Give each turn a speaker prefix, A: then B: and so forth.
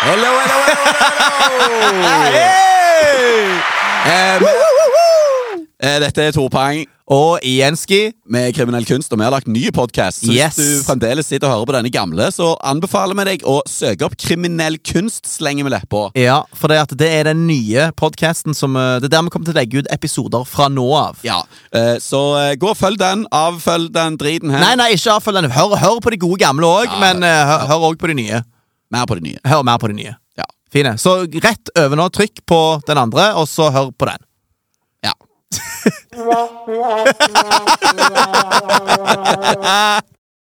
A: Hello, hello, hello, hello. Em, eh, dette er Tor Pang
B: Og Jenski
A: med Kriminell kunst, og vi har lagt ny podkast.
B: Yes.
A: Hvis du fremdeles sitter og hører på denne gamle, så anbefaler vi deg å søke opp Kriminell kunst, slenger vi leppa.
B: Ja, for det, at det er den nye podcasten som eh, Det er der vi kommer til å legge ut episoder fra nå av.
A: Ja, eh, så eh, gå og følg den, avfølg den driten her.
B: Nei, nei, ikke avfølg den. Hør, hør på de gode gamle òg,
A: Ja,
B: men eh, hør- hør òg på de nye.
A: Mer på det nye.
B: Hør mer på de nye.
A: Ja.
B: Fine. Så rett over nå, trykk på den andre, og så hør på den.
A: ja.